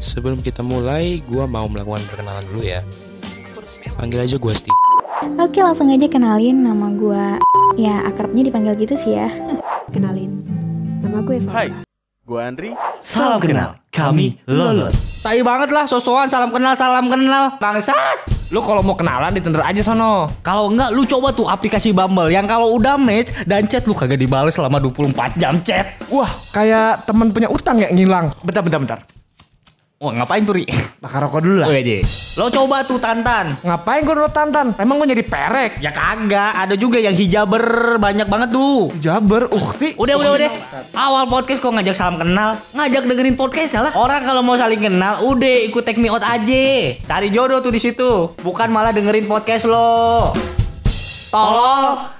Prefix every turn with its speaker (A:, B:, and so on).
A: sebelum kita mulai, gua mau melakukan perkenalan dulu ya. Panggil aja gua Steve.
B: Oke, langsung aja kenalin nama gua. Ya, akrabnya dipanggil gitu sih ya.
C: Kenalin, nama gue Volka.
D: Hai, gue Andri.
E: Salam kenal, kami Lolot.
F: Tai banget lah sosokan salam kenal salam kenal bangsat. Lu kalau mau kenalan ditender aja sono. Kalau enggak lu coba tuh aplikasi Bumble yang kalau udah match dan chat lu kagak dibales selama 24 jam chat.
G: Wah, kayak temen punya utang ya ngilang.
F: Bentar bentar bentar. Wah ngapain tuh Ri?
G: Bakar rokok dulu lah.
F: Oke aja. Lo coba tuh tantan.
G: Ngapain gue nurut tantan? Emang gue jadi perek?
F: Ya kagak, ada juga yang hijaber banyak banget tuh.
G: Jaber, ukti.
F: Udah udah udah. Awal podcast kok ngajak salam kenal, ngajak dengerin podcast lah. Orang kalau mau saling kenal, udah ikut take me out aja. Cari jodoh tuh di situ, bukan malah dengerin podcast lo. Tolong